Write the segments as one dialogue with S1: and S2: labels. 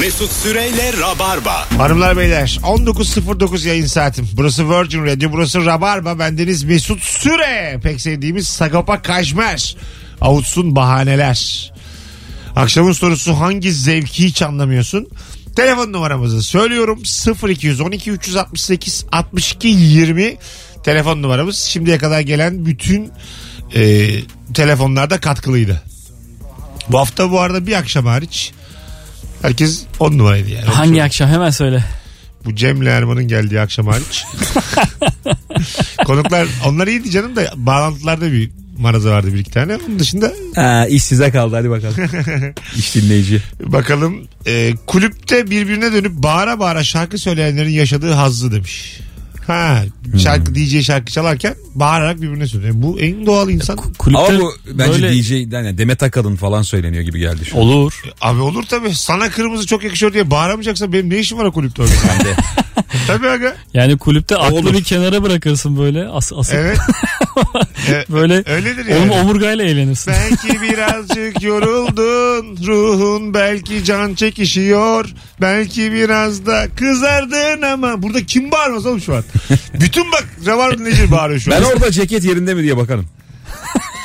S1: Mesut Süreyle Rabarba.
S2: Hanımlar beyler 19.09 yayın saatim. Burası Virgin Radio, burası Rabarba. Bendeniz Mesut Süre. Pek sevdiğimiz Sagopa Kajmer. Avutsun bahaneler. Akşamın sorusu hangi zevki hiç anlamıyorsun? Telefon numaramızı söylüyorum 0212 368 62 20 telefon numaramız. Şimdiye kadar gelen bütün e, telefonlarda katkılıydı. Bu hafta bu arada bir akşam hariç herkes 10 numaraydı yani.
S3: Hangi akşam hemen söyle.
S2: Bu Cem'le Erman'ın geldiği akşam hariç. Konuklar onlar iyiydi canım da bağlantılarda bir maraza vardı bir iki tane. Onun dışında
S4: Ha, Ee, iş size kaldı hadi bakalım. iş dinleyici.
S2: bakalım e, kulüpte birbirine dönüp bağıra bağıra şarkı söyleyenlerin yaşadığı hazzı demiş. Ha şarkı
S3: Hmm.
S2: DJ şarkı çalarken bağırarak birbirine söylüyor. Bu en doğal insan.
S3: Kulüpte
S4: Ama bu bence
S3: böyle-
S4: DJ yani Demet Akalın falan söyleniyor gibi geldi şu an.
S3: Olur.
S2: Abi olur tabii. Sana kırmızı çok yakışıyor diye bağıramayacaksan benim ne işim var o kulüpte orada? tabii aga.
S3: Yani kulüpte aklı
S4: Olur.
S3: bir kenara bırakırsın böyle. As, asıl
S2: Evet. E,
S3: böyle
S2: Öyledir yani.
S3: oğlum omurgayla eğlenirsin.
S2: Belki birazcık yoruldun Ruhun belki can çekişiyor Belki biraz da kızardın ama Burada kim bağırmaz oğlum şu an Bütün bak Ravar dinleyici bağırıyor şu an
S4: Ben orada ceket yerinde mi diye bakarım.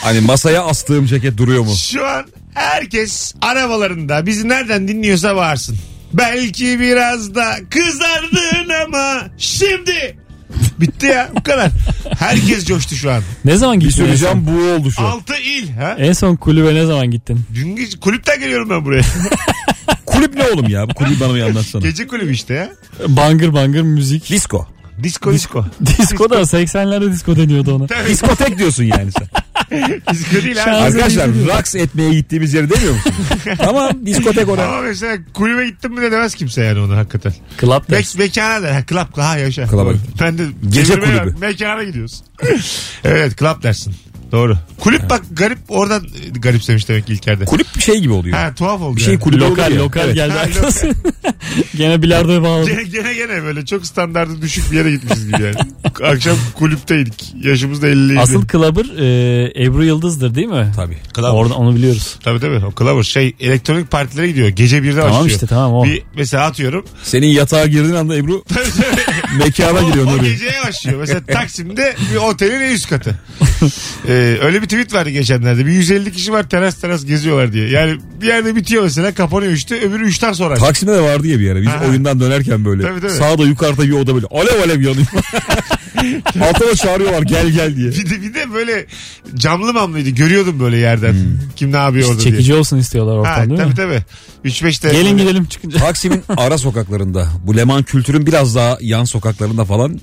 S4: hani masaya astığım ceket duruyor mu?
S2: Şu an herkes arabalarında Bizi nereden dinliyorsa bağırsın Belki biraz da kızardın ama Şimdi Bitti ya bu kadar Herkes coştu şu an
S3: Ne zaman
S4: Bir
S3: gittin? en son?
S4: söyleyeceğim bu oldu şu an.
S2: Altı il ha?
S3: En son kulübe ne zaman gittin?
S2: Dün gece kulüpten geliyorum ben buraya
S4: Kulüp ne oğlum ya? Bu kulübü bana bir anlatsana.
S2: Gece kulübü işte ya
S3: Bangır bangır müzik.
S4: Disko.
S2: Disko disko
S3: Disko da 80'lerde disko deniyordu ona.
S2: Tabii.
S4: Diskotek diyorsun yani sen.
S2: Disko değil abi.
S3: Şans-
S4: Arkadaşlar raks etmeye gittiğimiz yeri demiyor musun? tamam diskotek orada.
S2: Ama mesela kulübe gittim mi de demez kimse yani onu hakikaten.
S3: Club
S2: Mek
S3: ders.
S2: mekana der. Ha, Club. Ha yaşa.
S4: Club'a
S2: Doğru.
S4: gittim.
S2: Ben de
S4: Gece
S2: çevirmeye bak,
S4: kulübü.
S2: Mekana gidiyorsun. evet club dersin. Doğru. Kulüp bak garip oradan e, garipsemiş demek ki İlker'de.
S4: Kulüp bir şey gibi oluyor.
S2: Ha tuhaf oldu.
S4: bir şey
S2: yani.
S4: kulübü
S3: Lokal
S4: oluyor.
S3: lokal
S4: Evet.
S3: geldi
S2: Ha, Şey-
S3: aklıma. Gene bilardoya bağladı.
S2: Gene, gene gene böyle çok standartı düşük bir yere gitmişiz gibi yani. Akşam kulüpteydik. Yaşımız da 50'ydi.
S3: Asıl clubber e, Ebru Yıldız'dır değil mi?
S4: Tabii.
S3: Orada onu biliyoruz.
S2: Tabii tabii o kılavuz şey elektronik partilere gidiyor. Gece birde
S3: Tamam
S2: başlıyor.
S3: işte, tamam o.
S2: Bir, mesela atıyorum
S4: Senin yatağa girdiğin anda Ebru mekana giriyor
S2: O, o
S4: Nuri.
S2: geceye başlıyor. Mesela Taksim'de bir otelin en üst katı. Ee, öyle bir tweet vardı geçenlerde. Bir 150 kişi var teras teras geziyorlar diye. Yani bir yerde bitiyor mesela kapanıyor işte öbürü 3'ten sonra. açıyor.
S4: Taksim'de de vardı ya bir ara. Biz
S2: Ha.
S4: oyundan dönerken böyle.
S2: Tabii, tabii.
S4: Sağda yukarıda bir oda böyle. Alev alev yanıyor. Altına çağırıyorlar gel gel diye.
S2: bir, de, bir de böyle camlı mamlıydı. Görüyordum böyle yerden. Kim ne yapıyor orada
S3: Hmm. Çekici
S2: diye.
S3: olsun istiyorlar ortam
S2: Ha,
S3: değil
S2: tabii
S3: mi?
S2: tabii. 3-5 tane.
S3: Gelin gidelim çıkınca.
S4: Taksim'in ara sokaklarında bu Leman kültürün biraz daha yan sokaklarında falan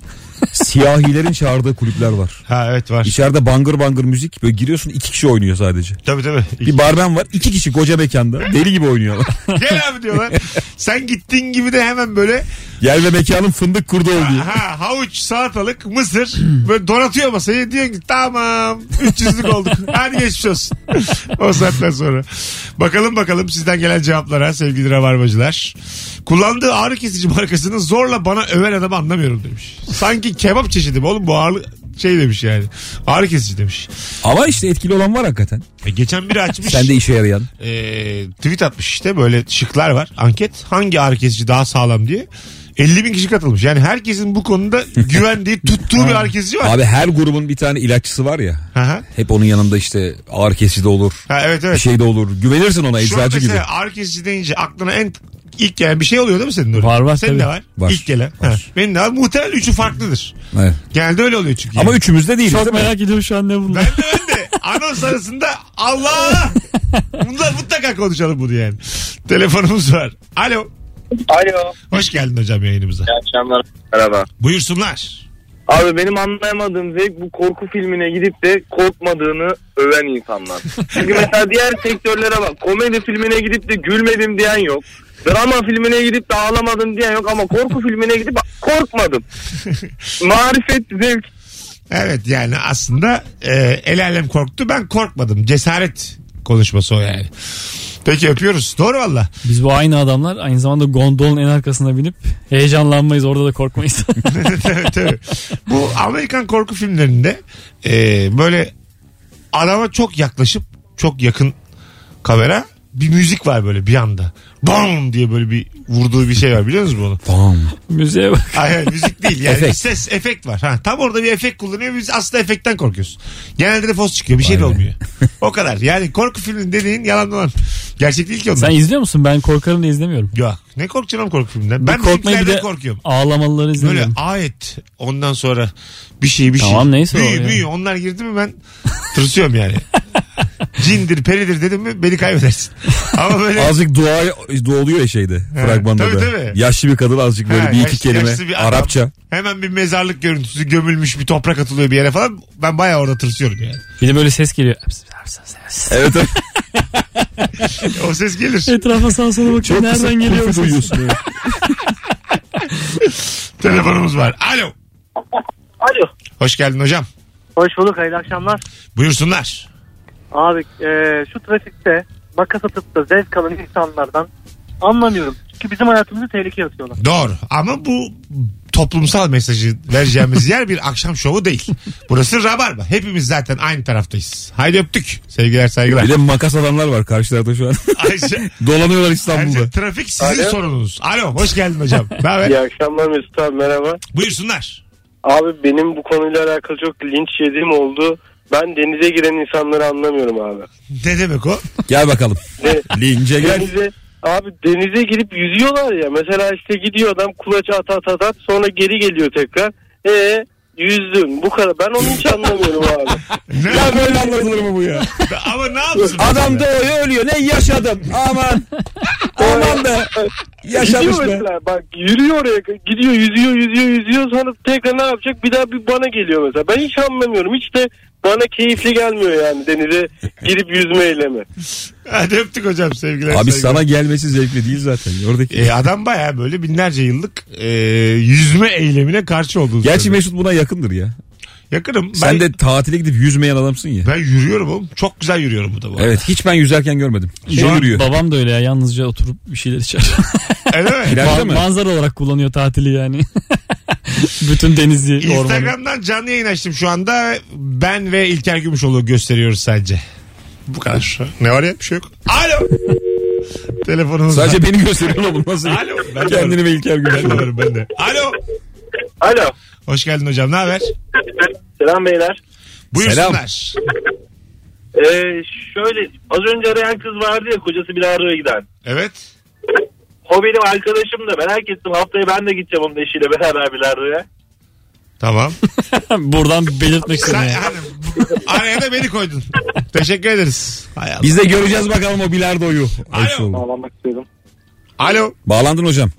S4: siyahilerin çağırdığı kulüpler var.
S2: Ha evet var.
S4: İçeride bangır bangır müzik böyle giriyorsun iki kişi oynuyor sadece.
S2: Tabii tabii.
S4: Bir barmen var iki kişi koca mekanda deli gibi oynuyorlar.
S2: Gel abi diyorlar. Sen gittiğin gibi de hemen böyle
S4: Yer ve mekanın fındık kurdu oluyor.
S2: ha, havuç, salatalık, mısır böyle donatıyor masayı. Diyor ki tamam 300'lük olduk. Hadi geçmiş olsun. o saatten sonra. Bakalım bakalım sizden gelen cevaplara sevgili rabarbacılar. Kullandığı ağrı kesici markasını zorla bana öven adamı anlamıyorum demiş. Sanki kebap çeşidi mi oğlum bu ağrı şey demiş yani. Ağrı kesici demiş.
S4: Ama işte etkili olan var hakikaten.
S2: E, geçen biri açmış.
S4: Sen de işe yarayan.
S2: e, tweet atmış işte böyle şıklar var. Anket hangi ağrı kesici daha sağlam diye. 50 bin kişi katılmış. Yani herkesin bu konuda güvendiği, tuttuğu bir ağrı kesici var.
S4: Abi her grubun bir tane ilaççısı var ya.
S2: Aha.
S4: Hep onun yanında işte ağır kesici de olur.
S2: Ha, evet
S4: Bir
S2: evet.
S4: şey de olur. Güvenirsin ona
S2: Şu an
S4: eczacı gibi.
S2: mesela ağrı kesici deyince aklına en ilk gelen bir şey oluyor değil mi senin? Nuri?
S3: Var, var,
S2: Senin
S3: tabii.
S2: de var.
S4: Var,
S2: İlk gelen.
S4: var.
S2: Ha. Benim de var. Muhtemelen üçü farklıdır.
S4: Evet.
S2: Genelde öyle oluyor çünkü.
S4: Ama
S2: yani.
S4: üçümüzde değil.
S3: Çok merak ediyorum şu an ne
S2: Ben
S3: bunlar.
S2: de ben de anons arasında Allah! Bunlar mutlaka konuşalım bunu yani. Telefonumuz var. Alo.
S5: Alo.
S2: Hoş geldin hocam yayınımıza.
S5: İyi akşamlar. Merhaba.
S2: Buyursunlar.
S5: Abi benim anlayamadığım zevk bu korku filmine gidip de korkmadığını öven insanlar. Çünkü mesela diğer sektörlere bak. Komedi filmine gidip de gülmedim diyen yok. Drama filmine gidip de ağlamadım diyen yok ama korku filmine gidip korkmadım. Marifet zevk.
S2: Evet yani aslında e, el alem korktu ben korkmadım. Cesaret konuşması o yani. Peki öpüyoruz. Doğru valla.
S3: Biz bu aynı adamlar aynı zamanda gondolun en arkasına binip heyecanlanmayız orada da korkmayız.
S2: Tabii, tabii. Bu Amerikan korku filmlerinde e, böyle adama çok yaklaşıp çok yakın kamera bir müzik var böyle bir anda. Bam diye böyle bir vurduğu bir şey var biliyor musunuz bunu?
S4: Tamam.
S3: Müziğe bak.
S2: Hayır müzik değil yani
S4: Efekt.
S2: Bir ses efekt var. Ha, tam orada bir efekt kullanıyor biz aslında efektten korkuyoruz. Genelde de fos çıkıyor bir şey de
S4: Vay be.
S2: olmuyor. O kadar yani korku filmi dediğin yalan dolan. Gerçek değil ki onlar.
S3: Sen izliyor musun? Ben korkarım da izlemiyorum.
S2: Ya, ne korkacaksın oğlum korku filminden? Ben
S3: korkmayı
S2: bizimkilerden korkuyorum.
S3: ağlamalıları
S2: Böyle
S3: izlemiyorum.
S2: ayet ondan sonra bir şey bir şey.
S3: Tamam, neyse o
S2: Büyü
S3: yani.
S2: büyü onlar girdi mi ben tırsıyorum yani. Cindir peridir dedim mi beni kaybedersin. Ama böyle
S4: Azıcık dua, dua oluyor ya şeyde fragmanda
S2: tabii,
S4: da.
S2: tabii.
S4: Yaşlı bir kadın azıcık böyle
S2: Ha,
S4: bir iki
S2: yaşlı-
S4: kelime
S2: yaşlı bir adam.
S4: Arapça.
S2: hemen bir mezarlık görüntüsü gömülmüş bir toprak atılıyor bir yere falan. Ben bayağı orada tırsıyorum yani.
S3: Bir de böyle ses geliyor.
S4: Evet evet.
S2: O ses gelir.
S3: Etrafa sağa sola
S4: kısa
S3: bakıyor. Nereden geliyor bu
S4: pufu
S3: ses?
S4: duyuyorsun. evet.
S2: Telefonumuz var. Alo.
S6: Alo.
S2: Hoş geldin hocam.
S6: Hoş bulduk. Hayırlı akşamlar.
S2: Buyursunlar.
S6: Abi e, şu trafikte makas atıp da zevk alan insanlardan anlamıyorum. Çünkü bizim hayatımızı tehlikeye atıyorlar.
S2: Doğru. Ama bu toplumsal mesajı vereceğimiz yer bir akşam şovu değil. Burası Rabarba. Hepimiz zaten aynı taraftayız. Haydi öptük. Sevgiler saygılar.
S4: Bir de makas adamlar var karşılarda şu an.
S2: Ayşe,
S4: Dolanıyorlar İstanbul'da.
S2: Ayşe, trafik sizin
S5: Alo.
S2: sorununuz. Alo hoş geldin hocam. Ne haber?
S5: İyi akşamlar Mesut abi merhaba.
S2: Buyursunlar.
S5: Abi benim bu konuyla alakalı çok linç yediğim oldu. Ben denize giren insanları anlamıyorum abi.
S2: Ne demek o?
S4: Gel bakalım.
S5: De-
S4: Lince E gel.
S5: denize, abi denize girip yüzüyorlar ya. Mesela işte gidiyor adam kulaç at at at at sonra geri geliyor tekrar. E yüzdün bu kadar. Ben onu hiç anlamıyorum abi.
S2: Ne?
S4: böyle anlatılır mı bu ya?
S2: Ama ne yapsın?
S4: Adam doğuyor ölüyor. Ne yaşadım. Aman. Aman be. Yaşamış
S5: gidiyor
S4: be.
S5: mesela bak yürüyor oraya gidiyor yüzüyor yüzüyor yüzüyor sonra tekrar ne yapacak bir daha bir bana geliyor mesela. Ben hiç anlamıyorum hiç de bana keyifli gelmiyor yani denize girip yüzme eylemi.
S2: Hadi öptük hocam sevgiler
S4: Abi
S2: saygılar.
S4: sana gelmesi zevkli değil zaten. Oradaki.
S2: E, adam baya böyle binlerce yıllık e, yüzme eylemine karşı olduğunu
S4: Gerçi
S2: söylüyor.
S4: Mesut buna yakındır ya.
S2: Yakınım.
S4: Sen
S2: ben,
S4: de tatile gidip yüzmeyen adamsın ya.
S2: Ben yürüyorum oğlum. Çok güzel yürüyorum bu da bu arada.
S4: Evet hiç ben yüzerken görmedim. Şey
S3: Şu an
S4: yürüyor.
S3: babam da öyle ya yalnızca oturup bir şeyler içer.
S2: Öyle mi?
S4: Plajda
S3: Ma-
S4: mı?
S3: Manzara olarak kullanıyor tatili yani. Bütün denizi, ormanı.
S2: Instagram'dan canlı yayın açtım şu anda. Ben ve İlker Gümüşoğlu gösteriyoruz sadece. Bu kadar. Ne var ya bir şey yok. Alo. Telefonunuz var.
S4: Sadece beni gösteriyor oğlum nasıl?
S2: Alo. Ben de varım.
S4: Kendini ve İlker
S2: Ben de
S4: Gümüşoğlu.
S2: varım ben de. Alo.
S5: Alo.
S2: Hoş geldin hocam. Ne haber?
S5: Selam beyler.
S2: Buyursunlar.
S5: Ee, şöyle az önce arayan kız vardı ya kocası bir araya giden.
S2: Evet.
S5: O benim arkadaşım da merak ettim haftaya ben de gideceğim onun eşiyle beraber bir araya.
S2: Tamam.
S3: Buradan belirtmek istedim.
S2: Sen,
S3: yani.
S2: hani, araya da beni koydun. Teşekkür ederiz. Hay Allah.
S4: Biz de göreceğiz bakalım o bilardoyu. Hoş
S2: Alo.
S4: oldu.
S6: Bağlanmak istiyorum.
S2: Alo.
S4: Bağlandın hocam.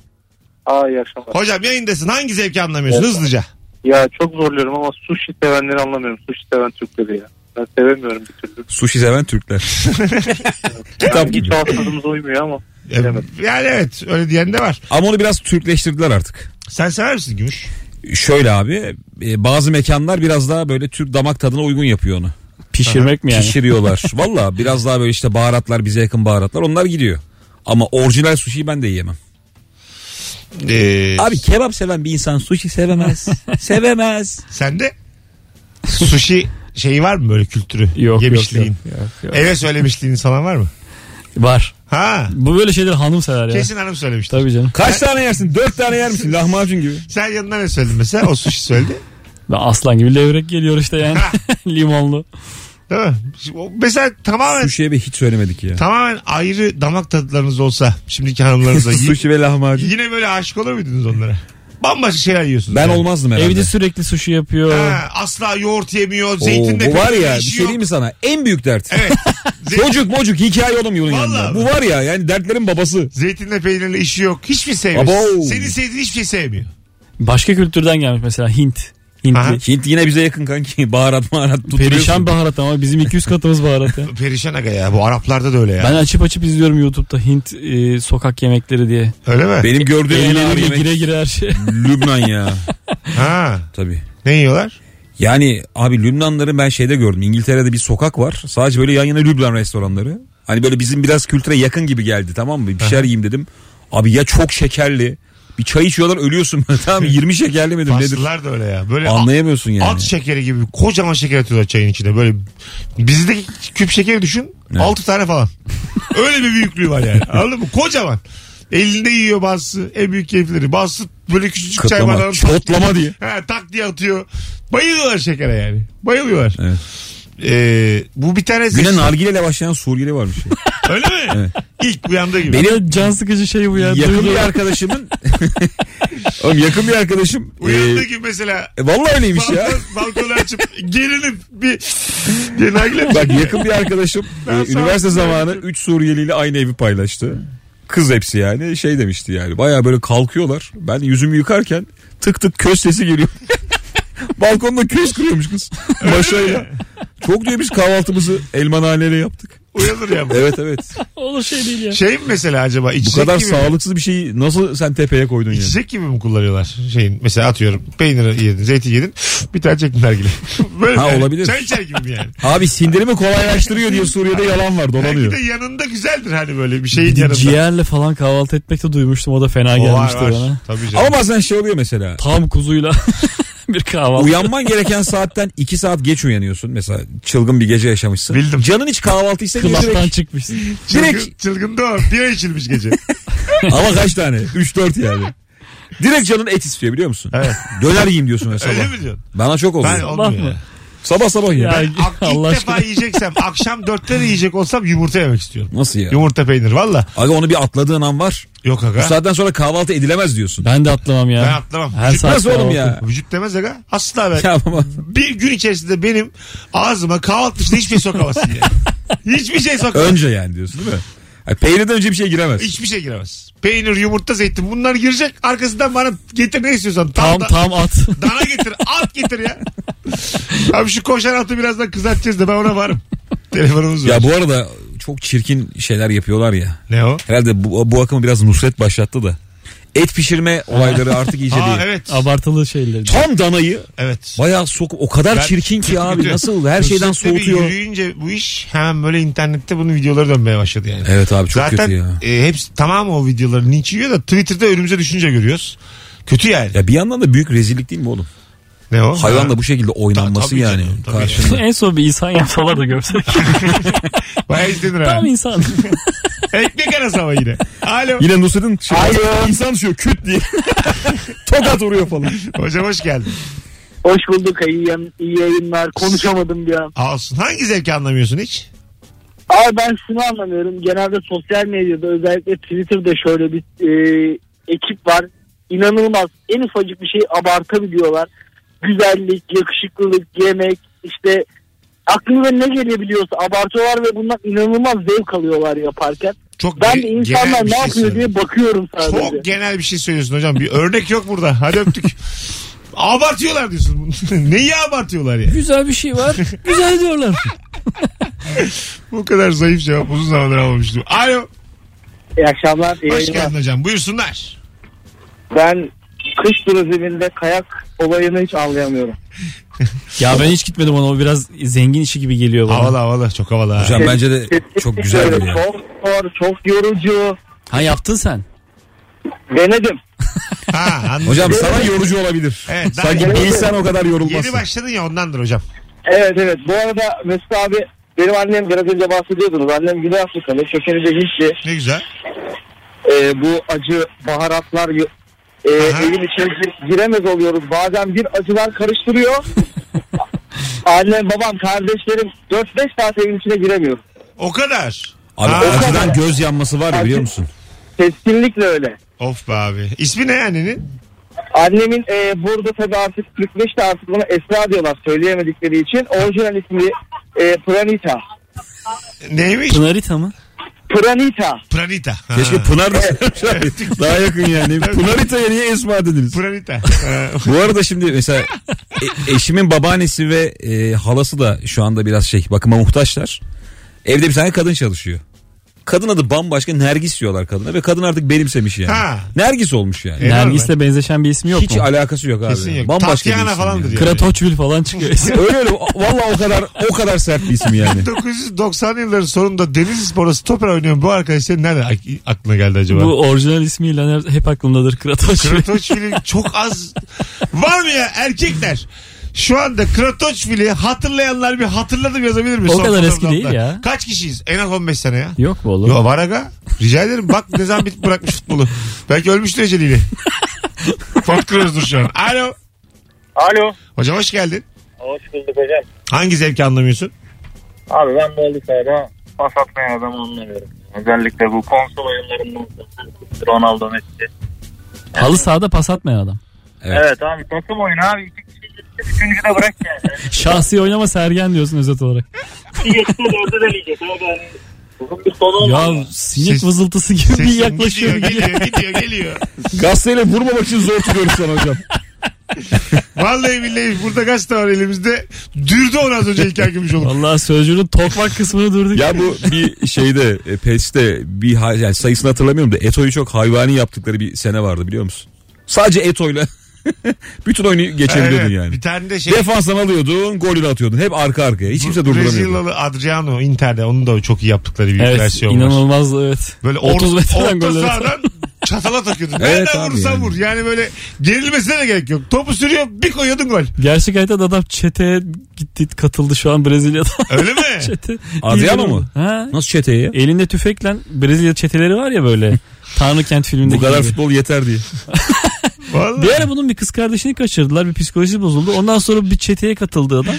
S6: Aa iyi akşamlar.
S2: Hocam yayındasın. Hangi zevki anlamıyorsun? Hızlıca.
S6: Ya çok zorluyorum ama sushi sevenleri anlamıyorum. Sushi seven Türkleri ya. Ben sevemiyorum bir türlü.
S4: Sushi seven Türkler. Kitap gibi.
S6: Ağızlarımıza uymuyor ama.
S2: Ee, Yani evet. Öyle diyen de var.
S4: Ama onu biraz Türkleştirdiler artık.
S2: Sen sever misin Gümüş?
S4: Şöyle abi e, bazı mekanlar biraz daha böyle Türk damak tadına uygun yapıyor onu.
S3: Pişirmek mi yani?
S4: Pişiriyorlar. Valla biraz daha böyle işte baharatlar bize yakın baharatlar onlar gidiyor. Ama orijinal sushi'yi ben de yiyemem.
S2: Ee,
S4: Abi kebap seven bir insan sushi sevemez. sevemez.
S2: Sende sushi şeyi var mı böyle kültürü?
S3: Yok, yok,
S2: Yemişliğin.
S3: yok, yok, yok.
S2: Eve söylemişliğiniz falan var mı?
S3: Var.
S2: Ha.
S3: Bu böyle şeyler hanım sever ya.
S2: Kesin hanım söylemişti.
S3: Tabii canım.
S4: Kaç tane yersin? Dört tane yer misin? Lahmacun gibi.
S2: Sen yanına ne söyledin mesela? O sushi söyledi.
S3: Ben aslan gibi levrek geliyor işte yani. Limonlu.
S2: Değil mi? Şimdi o- Mesela tamamen
S4: Sushi'ye bir hiç söylemedik ya.
S2: tamamen ayrı damak tadlarınız olsa şimdiki hanımlarınıza y-
S4: Sushi ve lahmacun.
S2: yine böyle aşık olur muydunuz onlara? Bambaşka şeyler yiyorsunuz.
S4: Ben
S2: yani.
S4: olmazdım herhalde.
S3: Evde sürekli suşi yapıyor.
S2: Ha, asla yoğurt yemiyor.
S4: Oo,
S2: Zeytin de
S4: bu var
S2: pek
S4: ya bir
S2: işi
S4: şey diyeyim
S2: yok.
S4: mi sana? En büyük dert.
S2: Evet. Zeytin,
S4: Çocuk mocuk hikaye oğlum yolun
S2: Vallahi
S4: yanında.
S2: mi?
S4: Bu var ya yani dertlerin babası.
S2: zeytinle peynirle işi yok. Hiçbir şey sevmiyor.
S4: Abo.
S2: Senin sevdiğin hiçbir şey sevmiyor.
S3: Başka kültürden gelmiş mesela Hint.
S2: Aha.
S3: Hintli.
S4: Hint yine bize yakın kanki. Baharat maharat tutturuyorsun.
S3: Perişan baharat ama bizim 200 katımız baharat ya.
S2: Perişan aga ya. Bu Araplarda da öyle ya.
S3: Ben açıp açıp izliyorum YouTube'da Hint e, sokak yemekleri diye.
S2: Öyle mi?
S4: Benim gördüğüm en ağır
S3: Elleriyle
S4: yemek
S3: gire gire her şey.
S4: Lübnan ya.
S2: Ha.
S4: Tabii.
S2: Ne yiyorlar?
S4: Yani abi Lübnanları ben şeyde gördüm. İngiltere'de bir sokak var. Sadece böyle yan yana Lübnan restoranları. Hani böyle bizim biraz kültüre yakın gibi geldi tamam mı? Bir şeyler yiyeyim dedim. Abi ya çok şekerli Bir çay içiyorlar ölüyorsun. tamam 20 şekerli midir nedir?
S2: Paslılar da öyle ya. Böyle
S4: Anlayamıyorsun yani.
S2: At şekeri gibi kocaman şeker atıyorlar çayın içine. Böyle bizdeki küp şekeri düşün. altı 6 tane falan. Öyle bir büyüklüğü var yani. Anladın mı? Kocaman. Elinde yiyor bazısı. En büyük keyifleri. Bazısı böyle küçücük çay
S4: Kıtlama,
S2: bardağını
S4: çotlama diye.
S2: ha, tak diye atıyor. Bayılıyorlar şekere yani. Bayılıyorlar.
S4: Evet.
S2: Ee, bu bir tane
S4: Güne
S2: ses-
S4: nargileyle başlayan Suriyeli varmış.
S2: Öyle mi? İlk uyandığı gibi.
S3: Benim can sıkıcı şey bu ya.
S4: yakın
S3: Duygu-
S4: bir arkadaşımın Oğlum yakın bir arkadaşım e,
S2: Uyandığı gibi mesela
S4: e, vallahi öyleymiş ya.
S2: balkon, balkonu açıp gerilip bir bir nargile-
S4: Bak yakın bir arkadaşım e,
S2: Ben sana- şey
S4: üniversite zamanı 3 Suriyeli ile aynı evi paylaştı. Kız hepsi yani şey demişti yani baya böyle kalkıyorlar. Ben yüzümü yıkarken tık tık köz sesi geliyor. Balkonda köz kırıyormuş kız. Maşayla. Çok diyor biz kahvaltımızı elmanhaneyle yaptık.
S2: uyanır ya bu.
S4: Evet evet.
S3: Olur şey değil ya.
S2: Şey mi mesela acaba
S4: Bu
S2: içecek
S4: kadar
S2: gibi
S4: sağlıksız bir şeyi nasıl sen tepeye koydun yani?
S2: İçecek gibi mi kullanıyorlar şeyin? Mesela atıyorum peyniri yedin, zeytin yedin. Bir tane çektin nargile. Böyle
S4: Ha,
S2: yani.
S4: olabilir.
S2: Çay içer gibi mi yani?
S4: Abi sindirimi kolaylaştırıyor diye Suriye'de yalan var
S2: Belki de
S4: dolanıyor. yanıyor.
S2: yanında güzeldir hani böyle bir şeyin
S3: Bir de
S2: yanında.
S3: Ciğerle falan kahvaltı etmek de duymuştum. O da fena
S2: O var,
S3: gelmişti
S2: var.
S3: bana.
S2: Tabii canım.
S4: Ama bazen şey oluyor mesela.
S3: Tam kuzuyla bir kahvaltı.
S4: Uyanman gereken saatten 2 saat geç uyanıyorsun. Mesela çılgın bir gece yaşamışsın.
S2: Bildim.
S4: Canın hiç kahvaltı istemiyor
S3: Klaptan
S4: direkt.
S3: çıkmışsın.
S2: Çılgın,
S4: direkt-
S2: çılgın da o. Bira içilmiş gece.
S4: Ama kaç tane? 3-4 yani. Direkt canın et istiyor biliyor musun?
S2: Evet.
S4: Döner yiyeyim diyorsun mesela.
S2: Öyle mi diyorsun?
S4: Bana çok oldu.
S2: Ben olmuyor.
S3: mı?
S2: ya.
S4: Sabah sabah yiyeyim.
S3: Ya-
S2: Ak- İlk
S3: Allah
S2: defa
S3: aşkına.
S2: yiyeceksem akşam dörtte de yiyecek olsam yumurta yemek istiyorum.
S4: Nasıl ya?
S2: Yumurta peynir valla.
S4: Aga onu bir atladığın an var.
S2: Yok
S4: Bu
S2: aga.
S4: saatten sonra kahvaltı edilemez diyorsun.
S3: Ben de atlamam ya.
S2: Ben atlamam.
S3: Her
S2: Vücut
S3: saat
S4: Nasıl oğlum
S3: kahvaltı.
S4: ya?
S2: Vücut demez aga. Asla ben.
S4: Ya baba.
S2: Bir gün içerisinde benim ağzıma kahvaltı dışında hiçbir şey sokamazsın yani. Hiçbir şey sokamazsın.
S4: Önce yani diyorsun değil mi? Ay, peynirden önce bir şey giremez.
S2: Hiçbir şey giremez. Peynir, yumurta, zeytin bunlar girecek. Arkasından bana getir ne istiyorsan.
S3: Tam
S2: da-
S3: tam at.
S2: Dana getir, at getir ya. Abi şu koşan atı birazdan kızartacağız da ben ona varım. Telefonumuz var.
S4: Ya bu arada çok çirkin şeyler yapıyorlar ya.
S2: Ne o?
S4: Herhalde bu, bu akımı biraz Nusret başlattı da. Et pişirme olayları artık iyice
S2: Aa
S4: değil.
S2: evet.
S3: Abartılı şeyler.
S4: Tam danayı
S2: Evet.
S4: bayağı sok o kadar
S2: Ben-
S4: çirkin ki
S2: Kötü
S4: abi
S2: kötü.
S4: nasıl her şeyden
S2: Hırsızlıkla bir
S4: soğutuyor.
S2: Yürüyünce bu iş hemen böyle internette bunun videoları dönmeye başladı yani.
S4: Evet abi çok
S2: Zaten
S4: kötü ya.
S2: e, hepsi tamam o videoları linç yiyor da Twitter'da önümüze düşünce görüyoruz. Kötü yani.
S4: Ya bir yandan da büyük rezillik değil mi oğlum?
S2: Ne o?
S4: Hayvanla bu şekilde oynanması
S2: tabii
S4: yani.
S2: canım, tabii.
S4: Karşında.
S3: en son bir insan yapsalar da görsek.
S2: Bayağı izlenir ha.
S3: tam insan.
S2: Ekmek arası ama yine. Alo.
S4: Yine Nusret'in şey, insan düşüyor küt diye. Tokat vuruyor falan.
S2: Hocam hoş geldin.
S5: Hoş bulduk iyi, yan- iyi yayınlar konuşamadım bir an.
S2: Olsun. Hangi zevki anlamıyorsun hiç?
S5: Abi ben şunu anlamıyorum. Genelde sosyal medyada özellikle Twitter'da şöyle bir e, ekip var. İnanılmaz. En ufacık bir şeyi abartabiliyorlar. Güzellik, yakışıklılık, yemek işte aklına ne gelebiliyorsa abartıyorlar ve bundan inanılmaz zevk alıyorlar yaparken.
S2: Çok
S5: Ben
S2: ge-
S5: de
S2: genel
S5: insanlar
S2: bir
S5: ne
S2: şey
S5: yapıyor
S2: söylüyorsun.
S5: diye bakıyorum sadece.
S2: Çok genel bir şey söylüyorsun hocam. Bir örnek yok burada. Hadi öptük. abartıyorlar diyorsun. Neyi abartıyorlar ya?
S3: Güzel bir şey var. Güzel diyorlar.
S2: Bu kadar zayıf cevap uzun zamandır almamıştım. Alo.
S5: İyi akşamlar. iyi
S2: Hoş
S5: yayınlar.
S2: geldin hocam. Buyursunlar.
S5: Ben kış turizminde kayak olayını hiç anlayamıyorum.
S3: ya ben hiç gitmedim ona. O biraz zengin işi gibi geliyor bana.
S2: Havalı havalı. Çok havalı. ha.
S4: Hocam bence de çok güzel
S5: Kesinlikle
S4: duruyor.
S5: Çok zor, çok yorucu.
S3: Ha yaptın sen.
S5: Denedim.
S2: Ha, anladım.
S4: Hocam sana yorucu olabilir.
S2: Evet, daha
S4: Sanki
S2: yeni-
S4: bir insan o kadar yorulmaz.
S2: Yeni başladın ya ondandır hocam.
S5: Evet evet. Bu arada Mesut abi benim annem biraz önce bahsediyordunuz. Annem Güney Afrikalı. Kökeni de Hintli.
S2: Ne güzel.
S5: Ee, bu acı baharatlar y- e,
S2: Aha.
S5: evin içine gi- giremez oluyoruz. Bazen bir acılar karıştırıyor. Annem, babam, kardeşlerim 4-5 saat evin içine giremiyor.
S2: O kadar.
S4: Abi
S2: Ha.
S4: acıdan göz yanması var ya biliyor musun?
S5: Kesinlikle öyle.
S2: Of be abi. İsmi ne yani?
S5: Annemin e, burada tabii artık 45 de artık buna Esra diyorlar söyleyemedikleri için. Orijinal ismi e, Pranita.
S2: Neymiş?
S3: Pınarita mı?
S5: Pranita.
S2: Pranita. Ha.
S4: Keşke Pınar da söylemiş. Daha yakın yani. Pınarita'ya niye esma dediniz?
S2: Pranita. Ha.
S4: Bu arada şimdi mesela e- eşimin babaannesi ve e, halası da şu anda biraz şey bakıma muhtaçlar. Evde bir tane kadın çalışıyor. Kadın adı bambaşka Nergis diyorlar kadına ve kadın artık benimsemiş yani.
S2: Ha.
S4: Nergis olmuş yani.
S2: E,
S3: Nergis'le benzeşen bir ismi yok
S4: Hiç
S3: mu?
S4: alakası yok abi.
S2: Kesin yok.
S4: Bambaşka
S2: Tatyana
S4: bir isim
S2: falandır
S4: yani.
S2: ya.
S3: Kratoçvil falan çıkıyor.
S4: Öyle öyle. Valla o kadar o kadar sert bir isim yani.
S2: 1990 yılların sonunda Denizli Spor'a stoper oynayan bu arkadaş senin nerede ak- aklına geldi acaba?
S3: Bu orijinal ismiyle her- hep aklımdadır Kratoçvil.
S2: Kratoçvili çok az var mı ya erkekler? Şu anda Kratoçvili hatırlayanlar bir hatırladım yazabilir mi?
S3: O
S2: Son
S3: kadar eski
S2: fotoğraflar.
S3: değil ya.
S2: Kaç kişiyiz? En az 15 sene ya.
S3: Yok mu oğlum?
S2: Yo var aga. Rica ederim. Bak ne zaman bit bırakmış futbolu. Belki ölmüştür eceliyle. Pot kırıyoruzdur şu an. Alo.
S5: Alo.
S2: Hocam hoş geldin.
S5: Hoş bulduk hocam.
S2: Hangi zevki anlamıyorsun?
S5: Abi ben bu halı sahada pas atmayan adamı anlamıyorum. Özellikle bu konsol oyunlarından sonra Ronaldo Messi.
S3: Halı sahada pas atmayan adam.
S4: Evet.
S5: Evet, abi takım oyunu abi. İki kişi gitti, üçüncü de bırak yani.
S3: Şahsi oynama Sergen diyorsun özet olarak.
S5: Bir geçti dördü de diyecek abi. hani Uzun bir sonu olmaz.
S3: Ya sinek
S2: Ses-
S3: vızıltısı gibi bir
S2: Sesim
S3: yaklaşıyor.
S2: gidiyor, geliyor, gidiyor, geliyor.
S4: Gazeteyle vurmamak için zor tutuyoruz sana hocam.
S2: Vallahi billahi burada gazete var elimizde. Dürdü onu az önce İlker Gümüşoluk.
S3: Vallahi sözcüğünün tokmak kısmını durduk.
S4: Ya bu bir şeyde e, PES'te bir ha- yani sayısını hatırlamıyorum da Eto'yu çok hayvani yaptıkları bir sene vardı biliyor musun? Sadece Eto'yla bütün oyunu geçebiliyordun
S2: Evet,
S4: yani.
S2: Bir tane de şey.
S4: Defanstan alıyordun, golünü atıyordun. Hep arka arkaya. Hiç kimse durduramıyordu.
S2: Brezilyalı Adriano Inter'de onun da çok iyi yaptıkları bir
S3: Evet
S2: versiyon var.
S3: inanılmaz evet.
S2: Böyle or,
S3: 30 metreden
S2: orta
S3: goller atıyor.
S2: sahadan çatala takıyordu.
S4: Evet
S2: Nereden
S4: abi
S2: vurursan
S4: yani.
S2: vur. Yani böyle gerilmesine de gerek yok. Topu sürüyor bir koyuyordun gol.
S3: Gerçek hayatta da adam çeteye gitti katıldı şu an Brezilya'da.
S2: Öyle mi?
S3: Çete.
S4: Adriano
S3: İyi
S4: mu?
S3: durumda. Ha.
S4: Nasıl çeteye?
S3: Elinde tüfekle Brezilya çeteleri var ya böyle. Tanrı Kent filmindeki
S4: Bu kadar
S3: gibi.
S4: futbol yeter diye.
S2: Vallahi.
S3: Bir ara bunun bir kız kardeşini kaçırdılar. Bir psikolojisi bozuldu. Ondan sonra bir çeteye katıldı adam.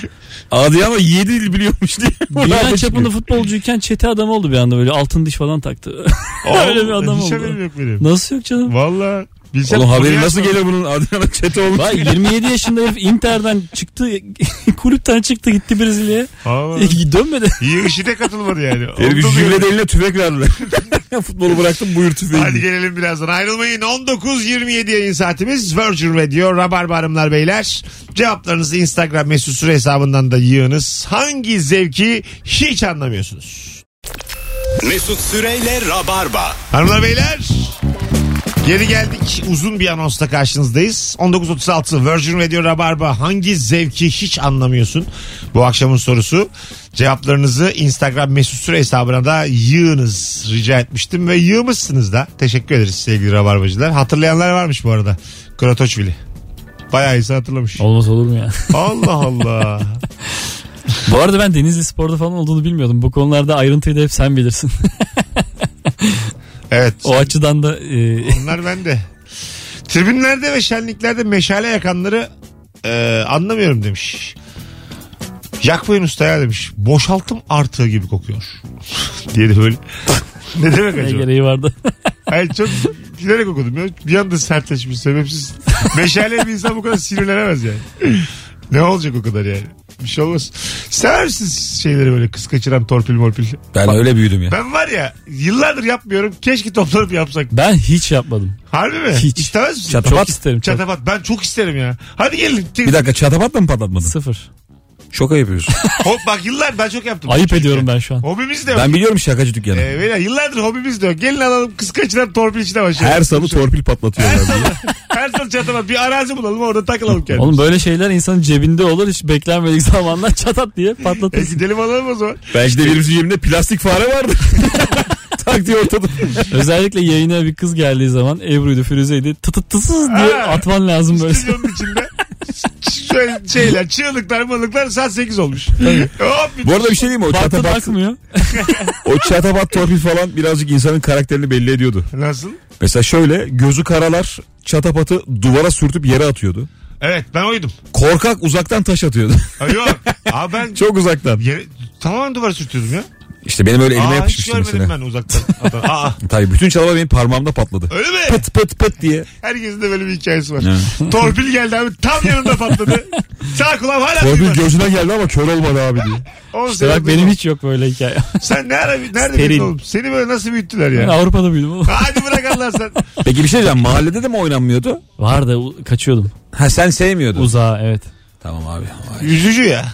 S4: Adriano 7 dil biliyormuş diye.
S3: Dünya
S4: Bravo
S3: çapında
S4: çıkıyor.
S3: futbolcuyken çete adamı oldu bir anda böyle. Altın diş falan taktı. Öyle bir adam
S2: Hiç
S3: oldu.
S2: haberim yok benim.
S3: Nasıl yok canım?
S2: Valla. Bilsem
S4: Oğlum haberi
S2: konuyu
S4: nasıl
S2: açmadım.
S4: gelir bunun Adriano çete olmuş?
S3: Vay 27 yaşında herif Inter'den çıktı. kulüpten çıktı gitti Brezilya'ya. E,
S2: Valla.
S3: Dönmedi.
S2: İyi işi de katılmadı yani.
S4: Herif
S2: Onda da
S4: jübilede eline tüfek verdiler. Futbolu bıraktım buyur tüfeği.
S2: Hadi gelelim birazdan ayrılmayın. 19.27 yayın saatimiz Virgin Radio Rabarba Hanımlar Beyler. Cevaplarınızı Instagram mesut süre hesabından da yığınız. Hangi zevki hiç anlamıyorsunuz?
S1: Mesut Süreyle Rabarba.
S2: Hanımlar Beyler Geri geldik. Uzun bir anonsla karşınızdayız. 19.36 Virgin Radio Rabarba hangi zevki hiç anlamıyorsun? Bu akşamın sorusu. Cevaplarınızı Instagram mesut süre hesabına da yığınız rica etmiştim ve yığmışsınız da. Teşekkür ederiz sevgili Rabarbacılar. Hatırlayanlar varmış bu arada. Kratoçvili. Bayağı insan hatırlamış.
S3: Olmaz olur mu ya?
S2: Allah Allah.
S3: Bu arada ben Denizli Spor'da falan olduğunu bilmiyordum. Bu konularda ayrıntıyı da hep sen bilirsin.
S2: Evet.
S3: o açıdan da e,
S2: Onlar bende. Tribünlerde ve şenliklerde meşale yakanları e, anlamıyorum demiş. Yakmayın usta ya demiş. Boşaltım artığı gibi kokuyor. diye de böyle. ne demek
S3: ne
S2: acaba?
S3: gereği vardı.
S2: Hayır çok gülerek okudum. Ya. Bir anda sertleşmiş sebepsiz. Meşale bir insan bu kadar sinirlenemez yani. ne olacak o kadar yani? Bir şey olmaz. Sever misiniz şeyleri böyle kız kaçıran torpil morpil?
S4: Ben öyle büyüdüm ya.
S2: Ben var ya yıllardır yapmıyorum. Keşke toplanıp yapsak.
S3: Ben hiç yapmadım.
S2: Harbi mi?
S3: Hiç.
S2: İstemez misin?
S3: Çok isterim. Çok.
S2: Çatapat. Ben çok isterim ya. Hadi gelin.
S4: Bir dakika çatapatla mı patlatmadın?
S3: Sıfır.
S4: Şoka yapıyorsun.
S2: Hop bak yıllar ben çok yaptım.
S3: Ayıp
S2: Çocukken.
S3: ediyorum ben şu an.
S2: Hobimiz de yok.
S4: ben biliyorum şakacı dükkanı.
S2: Ee, beyler, yıllardır hobimiz de yok. Gelin alalım kız kaçıran torpil içine başlayalım.
S4: Şey- Her salı torpil
S2: Her
S4: patlatıyorlar.
S2: salı. Her salı çatapat. Bir arazi bulalım orada takılalım kendimiz.
S3: Oğlum böyle şeyler insanın cebinde olur. Hiç beklenmedik zamandan çatat diye
S2: E
S3: patlatırsın.
S2: gidelim alalım o zaman.
S4: Belki de birimizin cebinde plastik fare vardı. tak diye ortada.
S3: Özellikle yayına bir kız geldiği zaman Ebru'ydu Firuze'ydi tıtıt tısız diye
S2: Ha.
S3: atman lazım böyle.
S2: Stüdyonun içinde. Şöyle şeyler çığlıklar malıklar saat 8 olmuş. Hop bir
S4: Bu arada bir şey diyeyim mi? O
S3: Baktı
S4: çatapat,
S3: takmıyor.
S4: o çatapat torpil falan birazcık insanın karakterini belli ediyordu.
S2: Nasıl?
S4: Mesela şöyle gözü karalar çatapatı duvara sürtüp yere atıyordu.
S2: Evet ben oydum.
S4: Korkak uzaktan taş atıyordu.
S2: Ha, yok. Abi ben
S4: Çok uzaktan.
S2: yere, tamamen duvara sürtüyordum ya.
S4: İşte benim öyle elime
S2: Aa, hiç
S4: yapışmıştı
S2: görmedim
S4: mesela.
S2: ben uzaktan. Aa,
S4: Tabii bütün çalaba benim parmağımda patladı.
S2: öyle mi?
S4: Pıt pıt pıt diye.
S2: Herkesin de böyle bir hikayesi var. Torpil geldi abi tam yanında patladı. Sağ kulağım hala
S4: Torpil
S2: duymadı.
S4: gözüne geldi ama kör olmadı abi diye.
S2: On
S3: İşte
S2: sene
S3: bak benim
S2: duymadı.
S3: hiç yok böyle hikaye.
S2: Sen ne ara, nerede
S3: Steril.
S2: büyüdün oğlum? Seni böyle nasıl büyüttüler
S3: Ben
S2: ya?
S3: Avrupa'da büyüdüm oğlum.
S2: Hadi bırak Allah sen.
S4: Peki bir şey diyeceğim. Mahallede de mi oynanmıyordu?
S3: Vardı u- kaçıyordum.
S4: Ha sen sevmiyordun.
S3: Uzağa evet.
S4: Tamam abi. Vay.
S2: Üzücü ya.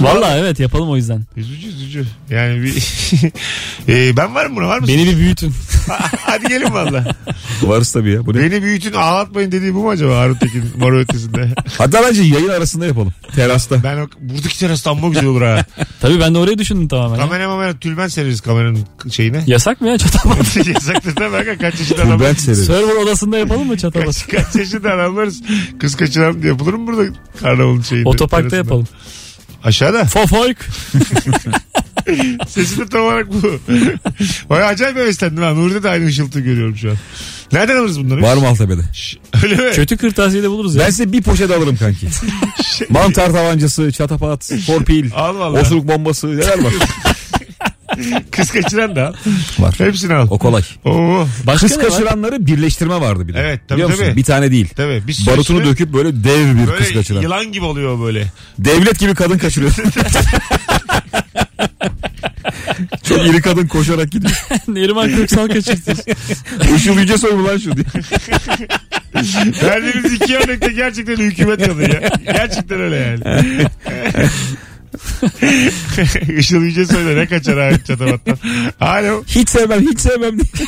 S3: Valla evet yapalım o yüzden.
S2: Üzücü üzücü. Yani bir... Ee, ben varım buna var mısın?
S3: Beni bir büyütün.
S2: Hadi gelin valla.
S4: Varız tabii ya. Bu ne?
S2: Beni büyütün ağlatmayın dediği bu mu acaba Harun Tekin Mor Ötesi'nde?
S4: Hatta bence yayın arasında yapalım. Terasta.
S2: Ben o, buradaki terasta amma güzel olur ha.
S3: Tabii ben de oraya düşündüm tamamen. ya.
S2: Kamera mamera tülben sereriz kameranın şeyine.
S3: Yasak mı ya çatabat?
S2: Yasaktır da Berkan kaç yaşında
S4: Bu ben
S2: adamlarız.
S4: severim.
S3: Server odasında yapalım mı
S2: Kaç,
S3: çatabat?
S2: kaç yaşında adamlarız. Kız kaçıran diye yapılır mı burada karnavalın şeyinde?
S3: Otoparkta
S2: terasında?
S3: yapalım.
S2: Aşağıda.
S3: Fofoyk.
S2: Sesi de tam olarak bu. Vay acayip heveslendim ha. Nuri'de de aynı ışıltı görüyorum şu an. Nereden alırız bunları?
S4: Var Maltepe'de.
S2: Şş, Öyle mi?
S3: Kötü kırtasiye de buluruz ya.
S4: Ben size bir poşet alırım kanki.
S2: Şey-
S4: Mantar tavancası, çatapat, torpil,
S2: Al valla.
S4: osuruk bombası neler var?
S2: Kız kaçıran da al.
S4: var.
S2: Hepsini al.
S4: O kolay.
S2: Oo.
S3: Başka
S4: Kız
S3: ne var?
S4: kaçıranları birleştirme vardı bir de.
S2: Evet, tabii,
S4: Biliyor musun?
S2: tabii.
S4: Bir tane değil.
S2: Tabii. Bir sürü
S4: Barutunu
S2: işte
S4: döküp böyle dev bir kız
S2: Böyle
S4: kaçıran.
S2: yılan gibi oluyor böyle.
S4: Devlet gibi kadın kaçırıyor. Çok iri kadın koşarak gidiyor.
S3: Neriman Köksal kaçırtır.
S4: Işıl Yüce soy mu lan şu diye.
S2: Verdiğimiz iki örnekte gerçekten hükümet kadın ya. Gerçekten öyle yani. Işıl Yüce söyle ne kaçar abi çatabattan. Alo.
S4: Hiç sevmem hiç sevmem diye.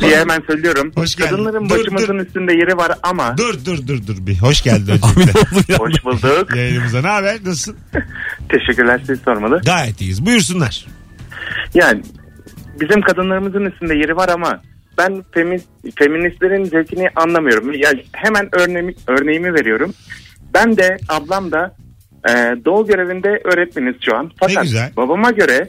S5: Diye hemen söylüyorum.
S2: Hoş geldin.
S5: Kadınların
S2: Dur,
S5: başımızın üstünde yeri var ama
S2: Dur dur dur dur bir. Hoş geldin öncelikle
S5: hoş bulduk.
S2: yayınımıza. Ne haber? Nasılsın?
S5: Teşekkürler siz sormalı.
S2: Gayet iyiyiz. Buyursunlar.
S5: Yani bizim kadınlarımızın üstünde yeri var ama ben femi- feministlerin zevkini anlamıyorum. Yani hemen örneğimi, örneğimi veriyorum. Ben de ablam da e, doğu görevinde öğretmeniz şu an. Fakat
S2: güzel.
S5: babama göre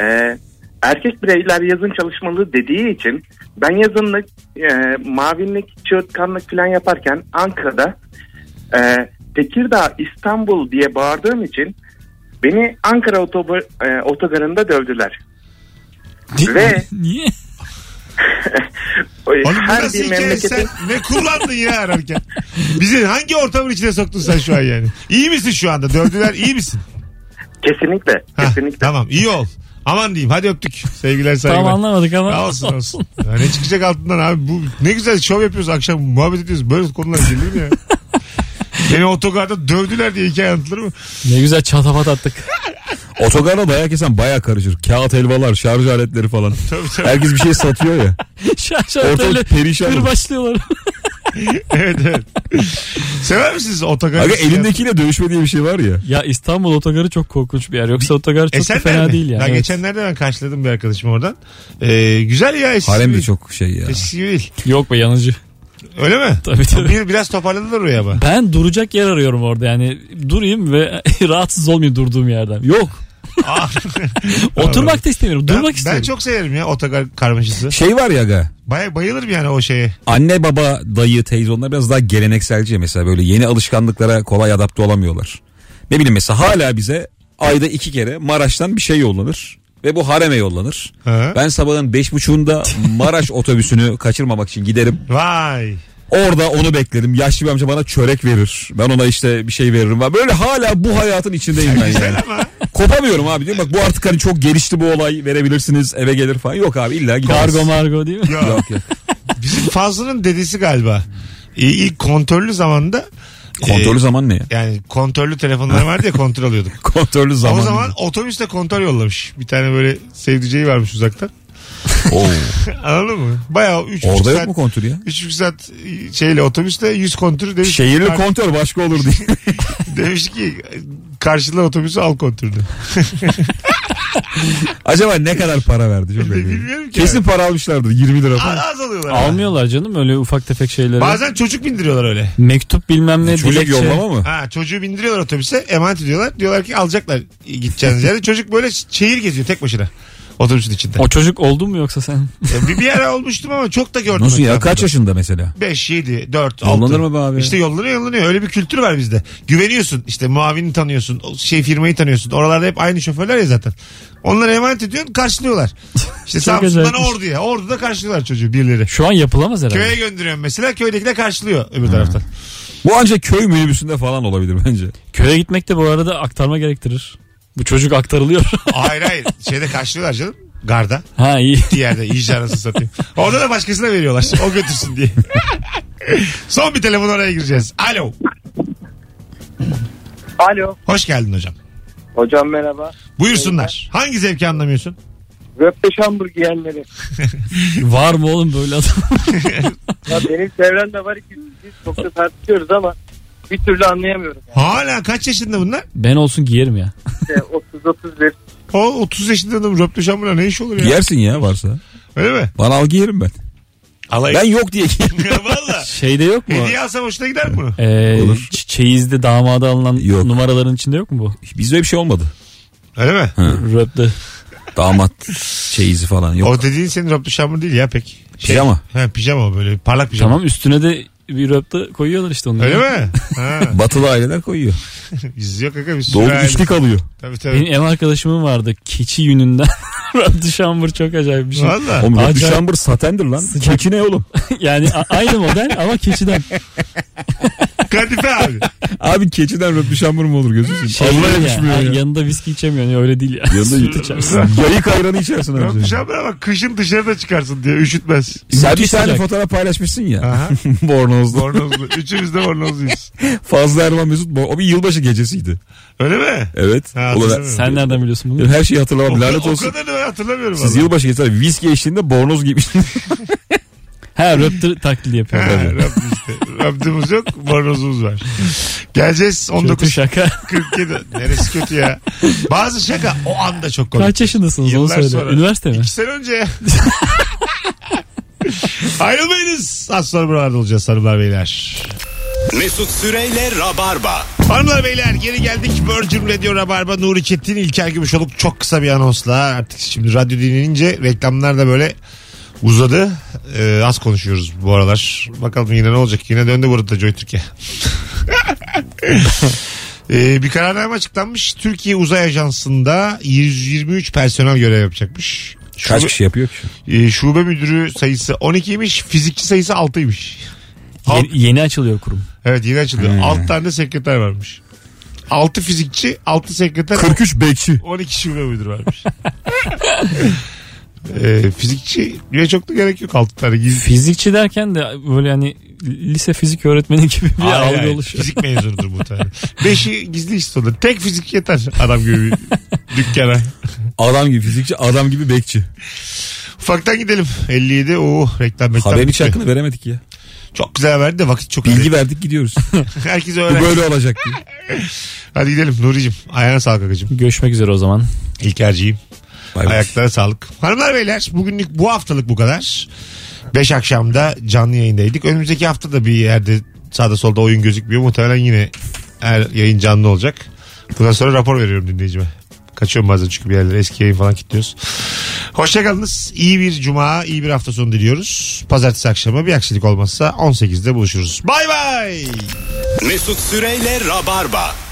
S5: e, erkek bireyler yazın çalışmalı dediği için ben yazınlık, e, mavinlik, çığırtkanlık falan yaparken Ankara'da e, Tekirdağ, İstanbul diye bağırdığım için beni Ankara otobu- e, otogarında dövdüler. Ve-
S3: Niye?
S5: O-
S2: Oğlum bu
S5: her
S2: nasıl
S5: bir
S2: hikaye sen
S5: memleketin
S2: ne kullandın ya ararken? Bizi hangi ortamın içine soktun sen şu an yani? İyi misin şu anda? Dövdüler iyi misin?
S5: kesinlikle
S2: Hah,
S5: kesinlikle
S2: Tamam iyi ol. Aman diyeyim hadi öptük. Sevgiler saygılar.
S3: Tamam anlamadık ama.
S2: Olsun olsun. Ya ne çıkacak altından abi? Bu ne güzel şov yapıyoruz akşam muhabbet ediyoruz. Böyle konular gelir mi ya? Beni otogarda dövdüler diye hikaye anlatılır mı?
S3: Ne güzel çatapat attık.
S4: Otogarda dayak yesen baya karışır. Kağıt helvalar, şarj aletleri falan.
S2: Tabii tabii.
S4: Herkes bir şey satıyor ya.
S3: Şaşırtı
S4: Ortalık perişan. olur.
S3: başlıyorlar.
S2: evet evet. Sever misiniz otogarda?
S4: Aga elindekiyle dövüşme diye bir şey var ya.
S3: Ya İstanbul otogarı çok korkunç bir yer. Yoksa otogar çok da
S2: Esenler
S3: fena
S2: mi?
S3: değil yani.
S2: Ben
S3: Evet.
S2: geçenlerde ben karşıladım bir arkadaşımı oradan. Ee, güzel ya eskisi
S4: Harem de
S2: gibi-
S4: çok şey ya.
S2: Eskisi gibi değil.
S3: Yok be yanıcı.
S2: Öyle mi?
S3: Tabii tabii.
S2: Bir, biraz toparladılar oraya ama.
S3: Ben duracak yer arıyorum orada yani. Durayım ve rahatsız olmayayım durduğum yerden. Yok.
S2: Aa,
S3: Oturmak da istemiyorum.
S2: ben,
S3: Durmak istiyorum.
S2: Ben çok severim ya otogar karmaşası.
S4: Şey var ya aga.
S2: Bay, bayılırım yani o şeye.
S4: Anne baba dayı teyze onlar biraz daha gelenekselci ya. mesela böyle yeni alışkanlıklara kolay adapte olamıyorlar. Ne bileyim mesela hala bize ayda iki kere Maraş'tan bir şey yollanır ve bu hareme yollanır.
S2: Ha?
S4: Ben sabahın beş buçuğunda Maraş otobüsünü kaçırmamak için giderim.
S2: Vay.
S4: Orada onu beklerim. Yaşlı bir amca bana çörek verir. Ben ona işte bir şey veririm. Ben Böyle hala bu hayatın içindeyim ben yani. Kopamıyorum abi diyorum. Bak bu artık hani çok gelişti bu olay. Verebilirsiniz eve gelir falan. Yok abi illa gideriz.
S3: Kargo margo değil mi?
S2: Ya.
S4: Yok yok.
S2: Bizim Fazlı'nın dedesi galiba. İ- İlk kontrollü zamanda
S4: Kontrollü zaman ne ya?
S2: e, yani kontrollü telefonlar vardı ya kontrol alıyorduk.
S4: Kontrollü zaman.
S2: O zaman otobüste kontrol yollamış. Bir tane böyle sevdiceği varmış uzaktan.
S4: Oo.
S2: Anladın mı? Bayağı 3,5
S4: Orada yok
S2: saat,
S4: mu kontür ya?
S2: 3,5 saat e, şeyle otobüste 100 kontür demiş.
S4: Şehirli
S2: Kar-
S4: kontör başka olur diye.
S2: Demiş ki karşıla otobüsü al kontürünü.
S4: Acaba ne kadar para verdi? Çok merak ediyorum.
S2: Bilmiyorum ki.
S4: Kesin para almışlardır 20 lira falan.
S2: Az az alıyorlar.
S3: Almıyorlar canım öyle ufak tefek şeyleri.
S2: Bazen çocuk bindiriyorlar öyle.
S3: Mektup bilmem ne
S4: Çocuk
S3: dilekçe.
S4: yollama mı?
S2: Ha çocuğu bindiriyorlar otobüse emanet ediyorlar. Diyorlar ki alacaklar gideceğiniz yere. Çocuk böyle şehir geziyor tek başına. Otobüsün içinde.
S3: O çocuk oldun mu yoksa sen?
S2: Ya bir, bir ara olmuştum ama çok da gördüm.
S4: Nasıl ya? Kaç yaşında mesela?
S2: 5, 7, 4, 6.
S4: Yollanır mı be abi?
S2: İşte yollanıyor yollanıyor. Öyle bir kültür var bizde. Güveniyorsun. İşte muavini tanıyorsun. o Şey firmayı tanıyorsun. Oralarda hep aynı şoförler ya zaten. Onlara emanet ediyorsun karşılıyorlar. İşte
S3: Çok
S2: Samsun'dan
S3: acayipmiş.
S2: Ordu'ya. Ordu'da karşılıyorlar çocuğu birileri.
S3: Şu an yapılamaz herhalde.
S2: Köye gönderiyorum mesela. Köydeki de karşılıyor öbür taraftan.
S4: Bu ancak köy minibüsünde falan olabilir bence.
S3: Köye gitmek de bu arada aktarma gerektirir. Bu çocuk aktarılıyor.
S2: hayır hayır. Şeyde karşılıyorlar canım. Garda.
S3: ha iyi.
S2: Bir yerde iyice anasını satayım. Orada da başkasına veriyorlar. O götürsün diye. Son bir telefon oraya gireceğiz. Alo.
S5: Alo.
S2: Hoş geldin hocam.
S5: Hocam merhaba.
S2: Buyursunlar. Hangi zevki anlamıyorsun?
S5: Röpteş hamburg yiyenleri.
S3: Var mı oğlum böyle adam?
S5: Ya benim çevrem de var ki biz çok da tartışıyoruz ama bir türlü anlayamıyorum.
S2: Hala kaç yaşında bunlar?
S3: Ben olsun giyerim ya.
S5: Yani. 30-31
S2: O 30 yaşında adam röptüşen buna ne iş olur ya?
S4: Yersin ya varsa.
S2: Öyle mi?
S4: Bana al giyerim ben.
S2: Alay.
S4: Ben yok diye giyerim.
S2: Valla.
S3: Şeyde yok mu?
S2: Hediye alsam hoşuna gider mi?
S3: Ee,
S4: Olur.
S3: ç- çeyizde damada alınan
S4: Yok.
S3: numaraların içinde yok mu bu?
S4: Bizde bir şey olmadı.
S2: Öyle mi?
S3: Röpte.
S4: Damat çeyizi falan yok. Şey
S2: O şey- dediğin senin röptüşen değil ya pek.
S4: Pijama.
S2: He, pijama böyle parlak pijama.
S3: Tamam üstüne de bir röpte koyuyorlar işte onları.
S2: Öyle mi? Ha.
S4: Batılı aileler koyuyor.
S2: Biz yok aga biz.
S4: Doğu
S2: sürer-
S4: üçlük alıyor.
S2: Tabii
S3: Benim
S2: tabii.
S3: ev arkadaşımın vardı keçi yününden. Röpte şambur çok acayip bir şey.
S2: Valla.
S4: Oğlum
S3: Acayip.
S4: Röptüşambur satendir lan. Keçi ne oğlum?
S3: Yani a- aynı model ama keçiden.
S2: Kadife abi.
S4: Abi keçiden röptüşambur mu olur gözü?
S3: Şey
S4: Allah
S3: değil
S4: yakışmıyor
S3: yani,
S4: ya.
S3: Yanında viski içemiyor. Yani öyle değil ya.
S4: Yanında
S3: Süt
S4: yut
S3: içersin.
S4: içersin. Yayık ayranı içersin abi.
S2: Röptüşen ama kışın dışarıda çıkarsın diye üşütmez.
S4: Sen bir
S3: Müthiş
S4: tane
S3: sıcak.
S4: fotoğraf paylaşmışsın ya.
S2: Aha.
S4: Bornozlu.
S2: Bornozlu. Üçümüz de bornozluyuz.
S4: Fazla Erman Mesut. Bor- O bir yılbaşı gecesiydi.
S2: Öyle mi?
S4: Evet.
S2: Ha,
S4: Ulan-
S2: hatırlamıyorum.
S3: Sen nereden biliyorsun bunu?
S4: Ya her şeyi hatırlamam.
S2: O,
S4: Lanet
S2: o
S4: olsun.
S2: kadarını ben hatırlamıyorum.
S4: Siz
S2: valla.
S4: yılbaşı gecesi viski eşliğinde bornoz giymiştiniz.
S3: Ha röpte taklidi yapıyor.
S2: Ha, Rabbim işte. Rabbimiz yok, bornozumuz var. Geleceğiz
S3: Kötü
S2: 19.47.
S3: şaka.
S2: Neresi kötü ya? Bazı şaka o anda çok komik.
S3: Kaç yaşındasınız onu
S2: Yıllar
S3: söyle.
S2: sonra.
S3: Üniversite mi?
S2: İki sene önce ya. Ayrılmayınız. Az sonra buralarda olacağız hanımlar beyler.
S1: Mesut Süreyle Rabarba.
S2: Hanımlar beyler geri geldik. Virgin Radio Rabarba Nuri Çetin İlker Gümüşoluk çok kısa bir anonsla artık şimdi radyo dinlenince reklamlar da böyle uzadı. Ee, az konuşuyoruz bu aralar. Bakalım yine ne olacak? Yine döndü burada Joy Türkiye. Ee, bir kararname açıklanmış. Türkiye Uzay Ajansı'nda 123 personel görev yapacakmış.
S4: Kaç
S2: Şube-
S4: kişi yapıyor ki?
S2: e, şube müdürü sayısı 12'ymiş. Fizikçi sayısı 6'ymış.
S3: Yeni, yeni açılıyor kurum.
S2: Evet yeni açıldı. 6 tane de sekreter varmış. 6 fizikçi, 6 sekreter,
S4: 43 bekçi.
S2: 12 şube müdürü varmış. Ee, fizikçi diye çok da gerek yok 6 tane. Gizli.
S3: Fizikçi derken de böyle hani lise fizik öğretmeni gibi bir
S2: Hayır,
S3: algı
S2: hayır.
S3: oluşuyor.
S2: Fizik mezunudur muhtemelen. Beşi gizli iş sonunda. Tek fizik yeter adam gibi bir dükkana.
S4: Adam gibi fizikçi, adam gibi bekçi.
S2: Ufaktan gidelim. 57. Oo reklam reklam.
S4: Haberin hiç
S2: bitti.
S4: hakkını veremedik ya.
S2: Çok güzel verdi de vakit çok
S4: Bilgi verdik gidiyoruz.
S2: Herkes
S4: Bu
S2: öğren.
S4: böyle olacak diye.
S2: Hadi gidelim Nuri'cim. Ayağına sağlık akıcım.
S3: Görüşmek üzere o zaman.
S2: İlkerciğim.
S4: Bay bay.
S2: Ayaklara sağlık. Hanımlar beyler bugünlük bu haftalık bu kadar. 5 akşamda canlı yayındaydık. Önümüzdeki hafta da bir yerde sağda solda oyun gözükmüyor. Muhtemelen yine her yayın canlı olacak. Bundan sonra rapor veriyorum dinleyicime. Kaçıyorum bazen çünkü bir yerlere eski yayın falan kilitliyoruz. Hoşçakalınız. İyi bir cuma, iyi bir hafta sonu diliyoruz. Pazartesi akşamı bir aksilik olmazsa 18'de buluşuruz. Bay bay.
S1: Mesut Süreyle Rabarba.